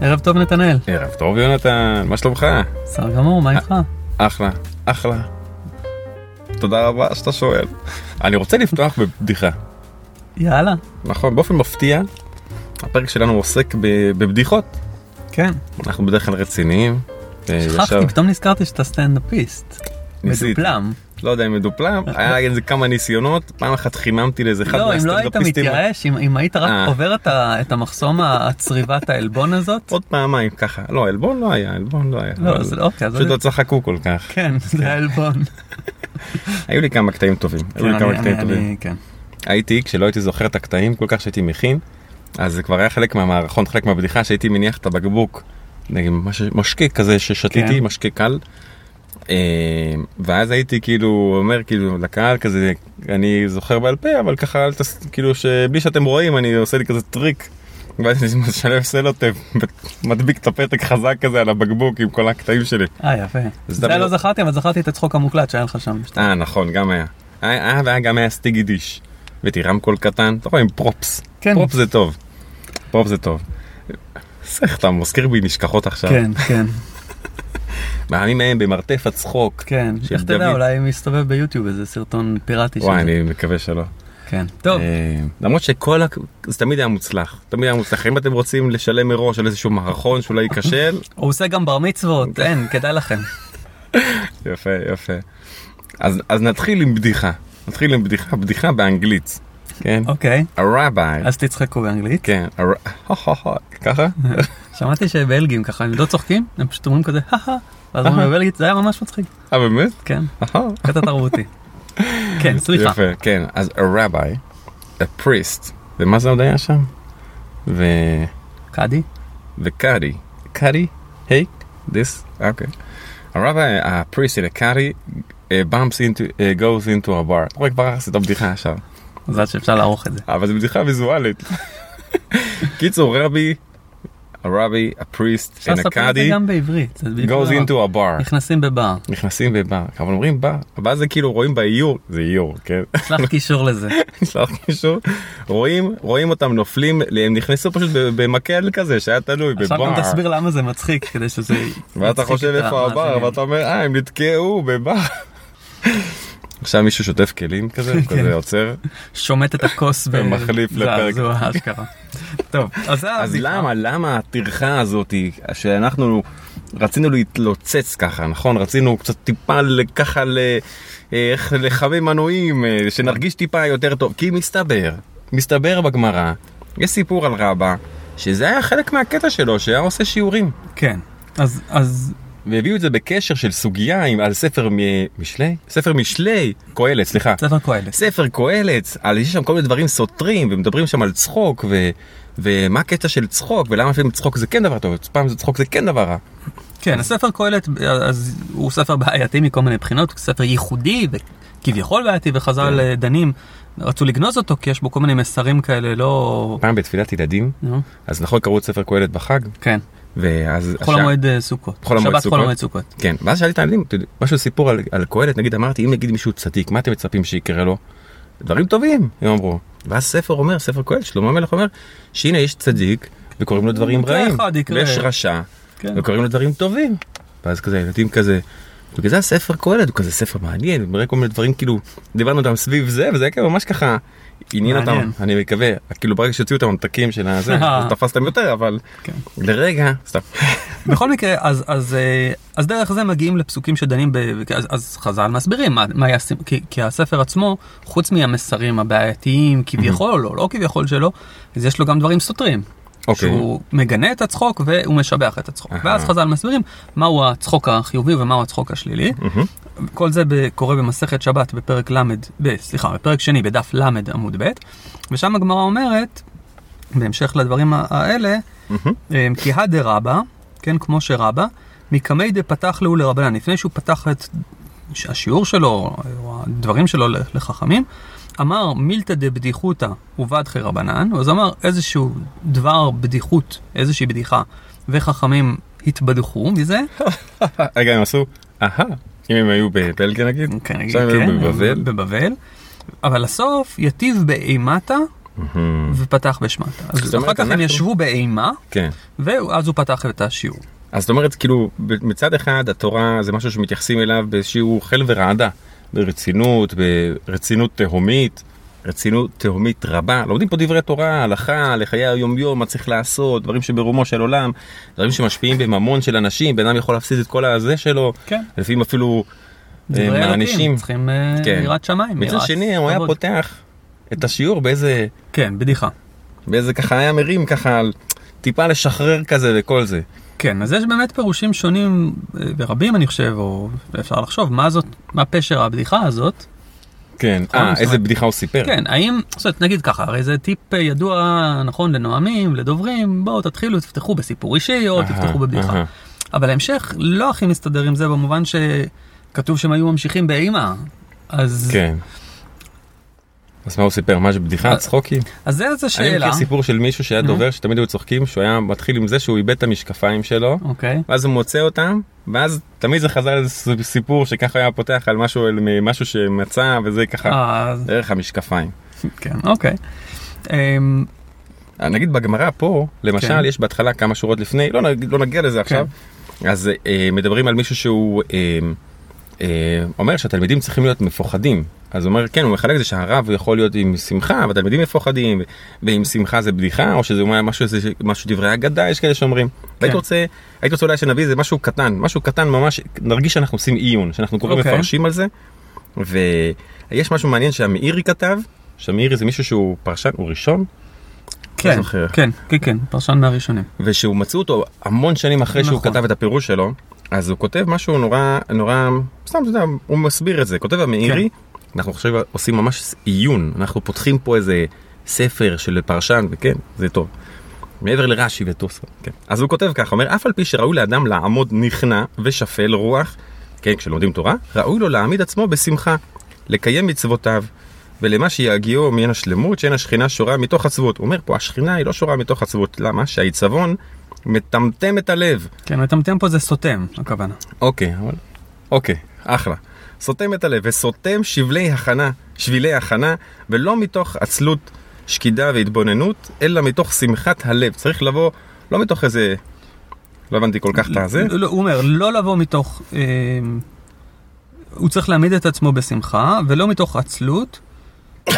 ערב טוב נתנאל. ערב טוב יונתן, מה שלומך? בסדר גמור, מה איתך? אחלה, אחלה. תודה רבה שאתה שואל. אני רוצה לפתוח בבדיחה. יאללה. נכון, באופן מפתיע, הפרק שלנו עוסק ב- בבדיחות. כן. אנחנו בדרך כלל רציניים. אה, ישר- שכחתי, פתאום נזכרתי שאתה סטנדאפיסט. ניסיתי. מדופלם. לא יודע אם מדופלם, היה איזה כמה ניסיונות, פעם אחת חיממתי לאיזה אחד לא, אם לא היית מהסטנדאפיסטים. מתייאש, אם- אם היית אה. רק עובר את ה- את המחסום הצריבת העלבון הזאת, עוד פעמיים ככה, לא, עלבון לא היה, עלבון לא היה. לא, אבל אז אוקיי, אז... פשוט לא צחקו כל כך. כן, זה העלבון. היו לי כמה קטעים טובים. היו לי כן, כמה אני- קטעים אני- טובים. אני- כן. הייתי, כשלא הייתי זוכר את הקטעים כל כך שהייתי מכין, אז זה כבר היה חלק מהמערכון, חלק מהבדיחה שהייתי מניח את הבקבוק, נגיד מש- משקה כזה ששתיתי, כן. משקה קל. אה, ואז הייתי כאילו אומר כאילו לקהל כזה אני זוכר בעל פה אבל ככה אל תס... כאילו שבלי שאתם רואים אני עושה לי כזה טריק. ואז אני משלב סלוטב מדביק את הפתק חזק כזה על הבקבוק עם כל הקטעים שלי. אה, יפה. אז זה אתה- לא זכרתי, אבל זכרתי את הצחוק המוקלט שהיה לך שם. אה נכון גם היה. היה היה- והיה גם היה סטיגי דיש. הבאתי רמקול קטן אתה רואה עם פרופס. כן, פרופ זה טוב. פרופ זה טוב. סך אתה מזכיר בי נשכחות עכשיו. כן, כן, מהימים ההם במרתף הצחוק. כן. של איך אתה יודע, דוד. אולי מסתובב ביוטיוב איזה סרטון פיראטי וואי של זה. אני מקווה שלא. כן. טוב, אה, למרות שכל הק... זה תמיד היה מוצלח. תמיד היה מוצלח. אם אתם רוצים לשלם מראש על איזשהו מערכון שאולי ייכשל. הוא עושה גם בר מצוות, אוקיי. אין, כדאי לכם. יפה יפה. אז, אז נתחיל עם בדיחה. נתחיל עם בדיחה. בדיחה באנגלית. כן? אוקיי, הרבי. אז תצחקו באנגלית. כן. הר- ככה? שמעתי שבלגים ככה, הם לא צוחקים, הם פשוט אומרים כזה, הא ואז אומרים בבלגית, זה היה ממש מצחיק. אה באמת? כן, אהה. קטע תרבותי. כן, סליחה. יפה, כן. אז a rabbi, a priest, ומה זה עוד היה שם? ו... קאדי? וקאדי. קאדי? היי? this? אוקיי. A rabbi, a priest and a קאדי, bumps into, uh, goes into a bar. אתה רואה כבר עשית בדיחה עכשיו. מזל שאפשר לערוך את זה. אבל זו בדיחה ויזואלית. קיצור, רבי, a rabbi, a priest אפשר and לספר a את זה קאדי, גם בעברית. זה בדיוק goes הדבר. into a bar. נכנסים בבר, נכנסים בבר. אבל אומרים בר, בר זה כאילו רואים באיור, זה איור, כן? שלח קישור לזה. נשלח לא, קישור, רואים, רואים אותם נופלים, הם נכנסו פשוט ב- במקל כזה שהיה תלוי עכשיו בבר. גם תסביר למה זה מצחיק, כדי שזה... ואתה יצחיק חושב את איפה הבר, המאזינים. ואתה אומר, אה, הם נתקעו בבר. עכשיו מישהו שוטף כלים כזה, הוא כן. כזה עוצר. שומט את הכוס ב- ומחליף לפרק. זעזוע, אשכרה. טוב, אז זה אז הבדיחה. למה, למה הטרחה הזאת, היא- שאנחנו רצינו להתלוצץ ככה, נכון? רצינו קצת טיפה ל- ככה ל- אה, איך לחמם מנועים, אה, שנרגיש טיפה יותר טוב, כי מסתבר, מסתבר בגמרא, יש סיפור על רבא, שזה היה חלק מהקטע שלו, שהיה עושה שיעורים. כן. אז- אז והביאו את זה בקשר של סוגיה עם, על ספר מ- משלי? ספר משלי, קהלת, סליחה. ספר קהלת. ספר קהלת, על יש שם כל מיני דברים סותרים, ומדברים שם על צחוק, ו... ומה הקטע של צחוק, ולמה לפעמים צחוק זה כן דבר טוב, פעם זה צחוק זה כן דבר רע. כן, הספר קהלת אז הוא ספר בעייתי מכל מיני בחינות, הוא ספר ייחודי וכביכול בעייתי, כן. וחז"ל אה, דנים, רצו לגנוז אותו כי יש בו כל מיני מסרים כאלה, לא... פעם בתפילת ילדים, נו, אז נכון קראו את ספר קהלת בחג, כן, ואז... חול המועד אה, סוכות. חול המועד שבת סוכות. חול המועד סוכות. כן, ואז שאלתי את הילדים, אתה יודע, משהו סיפור על, על קהלת, נגיד אמרתי, אם נגיד מישהו צדיק, מה אתם מצפים שיקרה לו? דברים טובים, הם אמרו. ואז ספר אומר, ספר קהלת, שלמה המלך אומר, שהנה יש צדיק, וקוראים לו דברים מקרה רעים, אחד יקרה. ויש רשע, כן. וקוראים לו דברים טובים. ואז כזה, ילדים כזה, בגלל זה הספר קהלת הוא כזה ספר מעניין, הוא מראה כל מיני דברים, כאילו, דיברנו אותם סביב זה, וזה היה כאילו ממש ככה, עניין מעניין. אותם, אני מקווה, כאילו ברגע שהוציאו את הממתקים של הזה, אז תפסתם יותר, אבל כן. לרגע, סתם. בכל מקרה, אז, אז, אה, אז דרך זה מגיעים לפסוקים שדנים, ב, אז, אז חז"ל מסבירים מה, מה היה, הסיפ- כי, כי הספר עצמו, חוץ מהמסרים הבעייתיים כביכול, או לא כביכול שלו, אז יש לו גם דברים סותרים. אוקיי. שהוא מגנה את הצחוק והוא משבח את הצחוק. אהה. ואז חז"ל מסבירים מהו הצחוק החיובי ומהו הצחוק השלילי. כל זה ב- קורה במסכת שבת בפרק ל', ב- סליחה, בפרק שני בדף ל' עמוד ב', ושם הגמרא אומרת, בהמשך לדברים ה- האלה, אה, כי הדה רבה, כן, כמו שרבה, מקמי דפתח להו לרבנן, לפני שהוא פתח את השיעור שלו, או הדברים שלו לחכמים, אמר מילתא דבדיחותא ובדחי רבנן, אז אמר איזשהו דבר בדיחות, איזושהי בדיחה, וחכמים התבדחו מזה, רגע, הם עשו, אהה, אם הם היו בבלגיה נגיד, כן, עכשיו הם היו בבבל, בבבל, אבל הסוף יטיב באימתה ופתח בשמטה. אז זאת אומרת, אחר כך הם אנחנו- ישבו באימה, כן. ואז הוא פתח את השיעור. אז זאת אומרת, כאילו, ב- מצד אחד התורה זה משהו שמתייחסים אליו באיזשהו חל ורעדה, ברצינות, ברצינות תהומית, רצינות תהומית רבה. לומדים פה דברי תורה, הלכה, לחיי היום-יום, מה צריך לעשות, דברים שברומו של עולם, דברים שמשפיעים בממון של אנשים, בן אדם יכול להפסיד את כל הזה שלו, כן. לפעמים אפילו אה, דברי אלוקים, מענישים. צריכים אה, כן. יראת שמיים. מצד יראת שני, הוא היה כבוד. פותח את השיעור באיזה, כן, בדיחה. באיזה ככה היה מרים ככה, על- טיפה לשחרר כזה וכל זה. כן, אז יש באמת פירושים שונים אה, ורבים, אני חושב, או אפשר לחשוב, מה זאת, מה פשר הבדיחה הזאת. כן, נכון, אה, זאת איזה אומרת- בדיחה הוא סיפר. כן, האם, זאת אומרת, נגיד ככה, הרי זה טיפ אה, ידוע, נכון, לנואמים, לדוברים, בואו תתחילו, תפתחו בסיפור אישי, או אהה, לא, תפתחו בבדיחה. אהה. אבל ההמשך לא הכי מסתדר עם זה, במובן שכתוב שהם היו ממשיכים באימה. אז, כן. אז מה הוא סיפר? מה, בדיחה? אה, צחוקים? אז זה איזה אני שאלה. מכיר סיפור של מישהו שהיה נו. דובר שתמיד היו צוחקים שהוא היה מתחיל עם זה שהוא איבד את המשקפיים שלו אוקיי. ואז הוא מוצא אותם ואז תמיד זה חזר איזה ס- סיפור שככה היה פותח על משהו על משהו שמצא וזה ככה אה, אז- דרך המשקפיים. כן, אוקיי. אמ, אה, נגיד בגמרא פה כן. למשל יש בהתחלה כמה שורות לפני לא נג- לא נגיע לזה עכשיו כן. אז אה, מדברים על מישהו שהוא אה, אה, אומר שהתלמידים צריכים להיות מפוחדים. אז הוא אומר כן הוא מחלק את זה שהרב יכול להיות עם שמחה והתלמידים מפוחדים ועם שמחה זה בדיחה או שזה אומר משהו איזה משהו דברי אגדה יש כאלה שאומרים. כן. והייתי רוצה הייתי רוצה אולי שנביא איזה משהו קטן משהו קטן ממש נרגיש שאנחנו עושים עיון שאנחנו קוראים אוקיי. מפרשים על זה. ויש משהו מעניין שהמאירי כתב שהמאירי זה מישהו שהוא פרשן הוא ראשון כן, זוכר. כן, כן, כן, פרשן מהראשונים. ושהוא מצאו אותו המון שנים אחרי נכון. נכון. שהוא כתב את הפירוש שלו, אז הוא כותב משהו נורא, נורא, סתם, אתה יודע, הוא מסביר את זה. כותב המאירי, כן. אנחנו עכשיו עושים ממש עיון, אנחנו פותחים פה איזה ספר של פרשן, וכן, זה טוב. מעבר לרש"י וטוסו, כן. אז הוא כותב ככה, אומר, אף על פי שראוי לאדם לעמוד נכנע ושפל רוח, כן, כשלומדים תורה, ראוי לו להעמיד עצמו בשמחה, לקיים מצוותיו, ולמה שיגיעו מן השלמות, שאין השכינה שורה מתוך עצבות. הוא אומר פה, השכינה היא לא שורה מתוך עצבות, למה? שהעיצבון מטמטם את הלב. כן, מטמטם פה זה סותם, הכוונה. אוקיי, אבל... אוקיי, אחלה. סותם את הלב, וסותם שבלי הכנה, שבילי הכנה, ולא מתוך עצלות, שקידה והתבוננות, אלא מתוך שמחת הלב. צריך לבוא, לא מתוך איזה... לא הבנתי כל כך את הזה. לא, הוא אומר, לא לבוא מתוך... אה, הוא צריך להעמיד את עצמו בשמחה, ולא מתוך עצלות.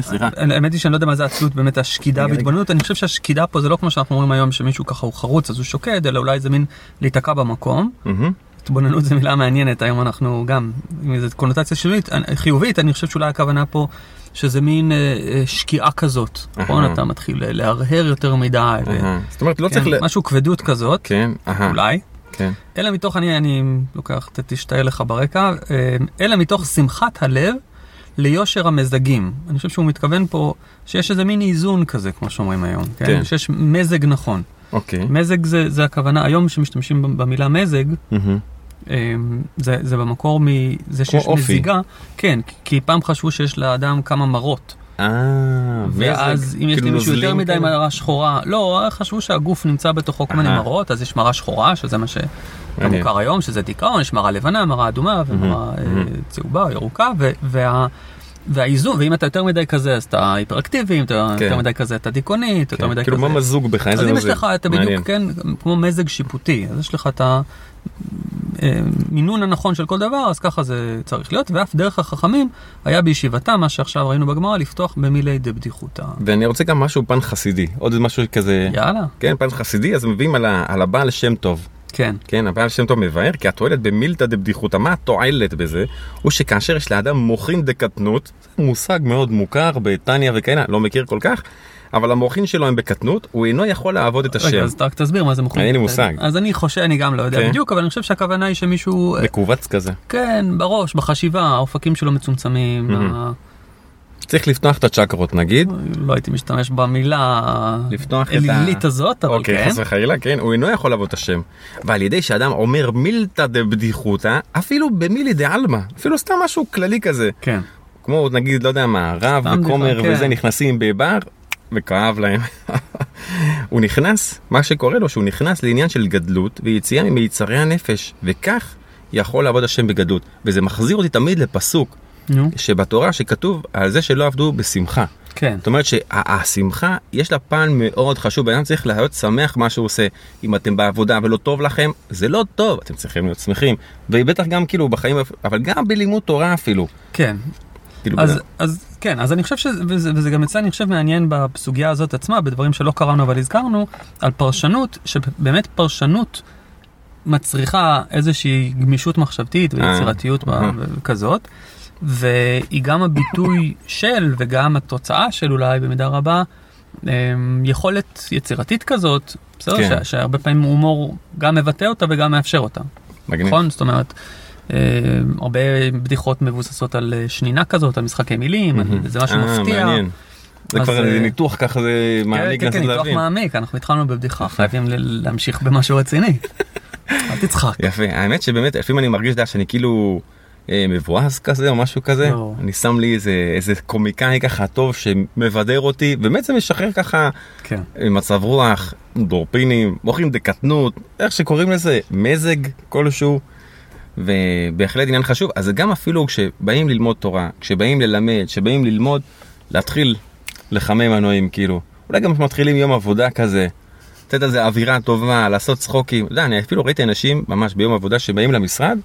סליחה. האמת היא שאני לא יודע מה זה עצלות, באמת השקידה רגע, והתבוננות. אני חושב שהשקידה פה זה לא כמו שאנחנו אומרים היום, שמישהו ככה הוא חרוץ אז הוא שוקד, אלא אולי זה מין להיתקע במקום. מהמם. התבוננות זו מילה מעניינת, היום אנחנו גם, עם איזו קונוטציה שלילית, אני- חיובית, אני חושב שאולי הכוונה פה שזה מין אה, אה, שקיעה כזאת. נכון, אהה. אתה מתחיל אה, להרהר יותר מדי, ו- אהה. זאת אומרת, לא כן, צריך ל... משהו כבדות כזאת, כן, אהה. אולי. כן. אלא מתוך, אני, אני לוקח, ת- תשתעל לך ברקע, אה, אלא מתוך שמחת הלב ליושר המזגים. אני חושב שהוא מתכוון פה שיש איזה מין איזון כזה, כמו שאומרים היום, כן? כן. שיש מזג נכון. אוקיי. מזג זה, זה הכוונה, היום שמשתמשים במ- במילה מזג, מהמם. אה, זה, זה במקור מזה כמו שיש אופי. מזיגה. כן, כי- כי פעם חשבו שיש לאדם כמה מרות. אה, מזג. ואז אם יש כאילו למישהו יותר נוזלים מדי כאלה? מראה שחורה, לא, חשבו שהגוף נמצא בתוכו כל מיני אהה. מראות, אז יש מראה שחורה, שזה מה מעניין. שמוכר היום, שזה דיכאון, יש מראה לבנה, מראה אדומה, ומראה אה, צהובה או ירוקה, ו- וה... והאיזון, ואם אתה יותר מדי כזה, אז אתה היפראקטיבי, אם אתה כן. יותר מדי כזה, אתה דיכאוני, אתה יותר כן. מדי כאילו, מה כזה. מזוג בך? אז איזה אם יש מזג? לך, אתה מעניין. בדיוק, כן, כמו מזג שיפוטי, אז יש לך את המינון הנכון של כל דבר, אז ככה זה צריך להיות, ואף דרך החכמים היה בישיבתה, מה שעכשיו ראינו בגמרא, לפתוח במילי דבדיחותא. ואני רוצה גם משהו פן חסידי, עוד איזה משהו כזה, יאללה, כן, פן חסידי, אז מביאים על, ה, על הבעל שם טוב. כן, כן, הבעל שם טוב מבאר, כי התועלת במילתא דבדיחותא, מה התועלת בזה? הוא שכאשר יש לאדם מוחין דקטנות, זה מושג מאוד מוכר בטניה וכאלה, לא מכיר כל כך, אבל המוחין שלו הם בקטנות, הוא אינו יכול לעבוד את רגע, השם. אז רק תסביר מה זה מוכן. אין לי מושג. אז אני חושב, אני גם לא יודע כן. בדיוק, אבל אני חושב שהכוונה היא שמישהו, אה, מכווץ כזה. כן, בראש, בחשיבה, האופקים שלו מצומצמים, ה- צריך לפתוח את הצ'קרות נגיד. לא הייתי משתמש במילה לפתוח את ה- האלילית הזאת, אבל אוקיי, כן. חס וחלילה, כן, הוא אינו יכול לעבוד את השם. ועל ידי שאדם אומר מילתא דבדיחותא, אפילו במילי דעלמא, אפילו סתם משהו כללי כזה. כן. כמו נגיד לא יודע מה רב סתם וכומר בדיחה, וזה כן. נכנסים בבר וכאב להם. הוא נכנס מה שקורה לו שהוא נכנס לעניין של גדלות ויציאה ממיצרי הנפש וכך יכול לעבוד השם בגדלות וזה מחזיר אותי תמיד לפסוק נו, שבתורה שכתוב על זה שלא עבדו בשמחה. כן. זאת אומרת שהשמחה, יש לה פן מאוד חשוב, בן אדם צריך להיות שמח מה שהוא עושה. אם אתם בעבודה ולא טוב לכם, זה לא טוב, אתם צריכים להיות שמחים. ובטח גם כאילו בחיים, אבל גם בלימוד תורה אפילו. כן. כאילו, אז, בן- אז כן, אז אני חושב שזה, וזה, וזה גם יצא, אני חושב, מעניין בסוגיה הזאת עצמה, בדברים שלא קראנו אבל הזכרנו, על פרשנות, שבאמת פרשנות מצריכה איזושהי גמישות מחשבתית ויצירתיות ב- אה. כזאת, והיא גם הביטוי של וגם התוצאה של אולי במידה רבה. אמ, יכולת יצירתית כזאת, בסדר? כן. ש- שהרבה פעמים הומור גם מבטא אותה וגם מאפשר אותה. מגניב. נכון? זאת אומרת, אה, הרבה בדיחות מבוססות על אה, שנינה כזאת, על משחקי מילים, על איזה משהו אה, מפתיע. מעניין. זה אז, כבר אה, איזה ניתוח ככה זה מעניק כן, כן, לנסות כן, ניתוח להבין. מעמיק, אנחנו התחלנו בבדיחה, חייבים ל- להמשיך במשהו רציני. אל תצחק. יפה, האמת שבאמת לפעמים אני מרגיש אתה יודע, שאני כאילו אה, מבואס כזה או משהו כזה, לא. אני שם לי איזה, איזה קומיקאי ככה טוב שמבדר אותי, באמת זה משחרר ככה כן. אה, מצב רוח, דורפינים, מוחים דקטנות, איך שקוראים לזה, מזג כלשהו, ובהחלט עניין חשוב, אז זה גם אפילו כשבאים ללמוד תורה, כשבאים ללמד, כשבאים ללמוד, להתחיל לחמם מנועים כאילו, אולי גם מתחילים יום עבודה כזה. לתת איזה אווירה טובה, לעשות צחוקים. אתה יודע, אני אפילו ראיתי אנשים ממש ביום עבודה שבאים למשרד,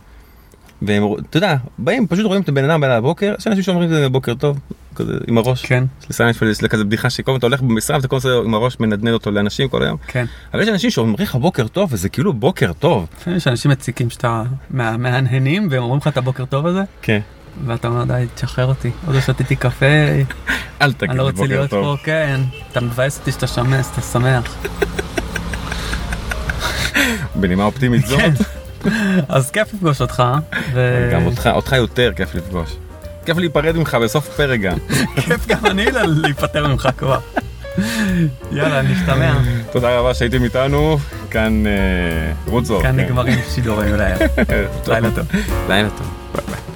והם, אתה יודע, באים, פשוט רואים את הבן אדם בלילה בבוקר, יש אנשים שאומרים כזה בוקר טוב, כזה עם הראש. כן, סליחה, יש לי כזה בדיחה שכל הזמן אתה הולך במשרד ואתה כל הזמן עם הראש מנדנד אותו לאנשים כל היום. כן. אבל יש אנשים שאומרים לך בוקר טוב וזה כאילו בוקר טוב. לפעמים יש אנשים מציקים שאתה מה- מהנהנים והם אומרים לך את הבוקר טוב הזה, כן. ואתה אומר די, תשחרר אותי, עוד לא שתיתי קפה, אל תגיד אני לא רוצה בוקר להיות פה, טוב. כן. אתה מבאס אותי שאתה שמח, שאתה שמח. בנימה אופטימית זאת. כן. אז כיף לפגוש אותך. ו- גם אותך, אותך יותר כיף לפגוש. כיף להיפרד ממך בסוף פרק גם. כיף גם אני לה- להיפטר ממך כבר. יאללה, נשתמע. תודה רבה שהייתם איתנו, כאן אה, רוצו. כאן כן. נגמרים שידורים אולי. לילה טוב. לילה טוב. ביי ביי.